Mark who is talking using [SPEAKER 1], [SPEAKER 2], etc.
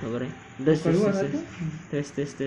[SPEAKER 1] tak apa eh test test test test test test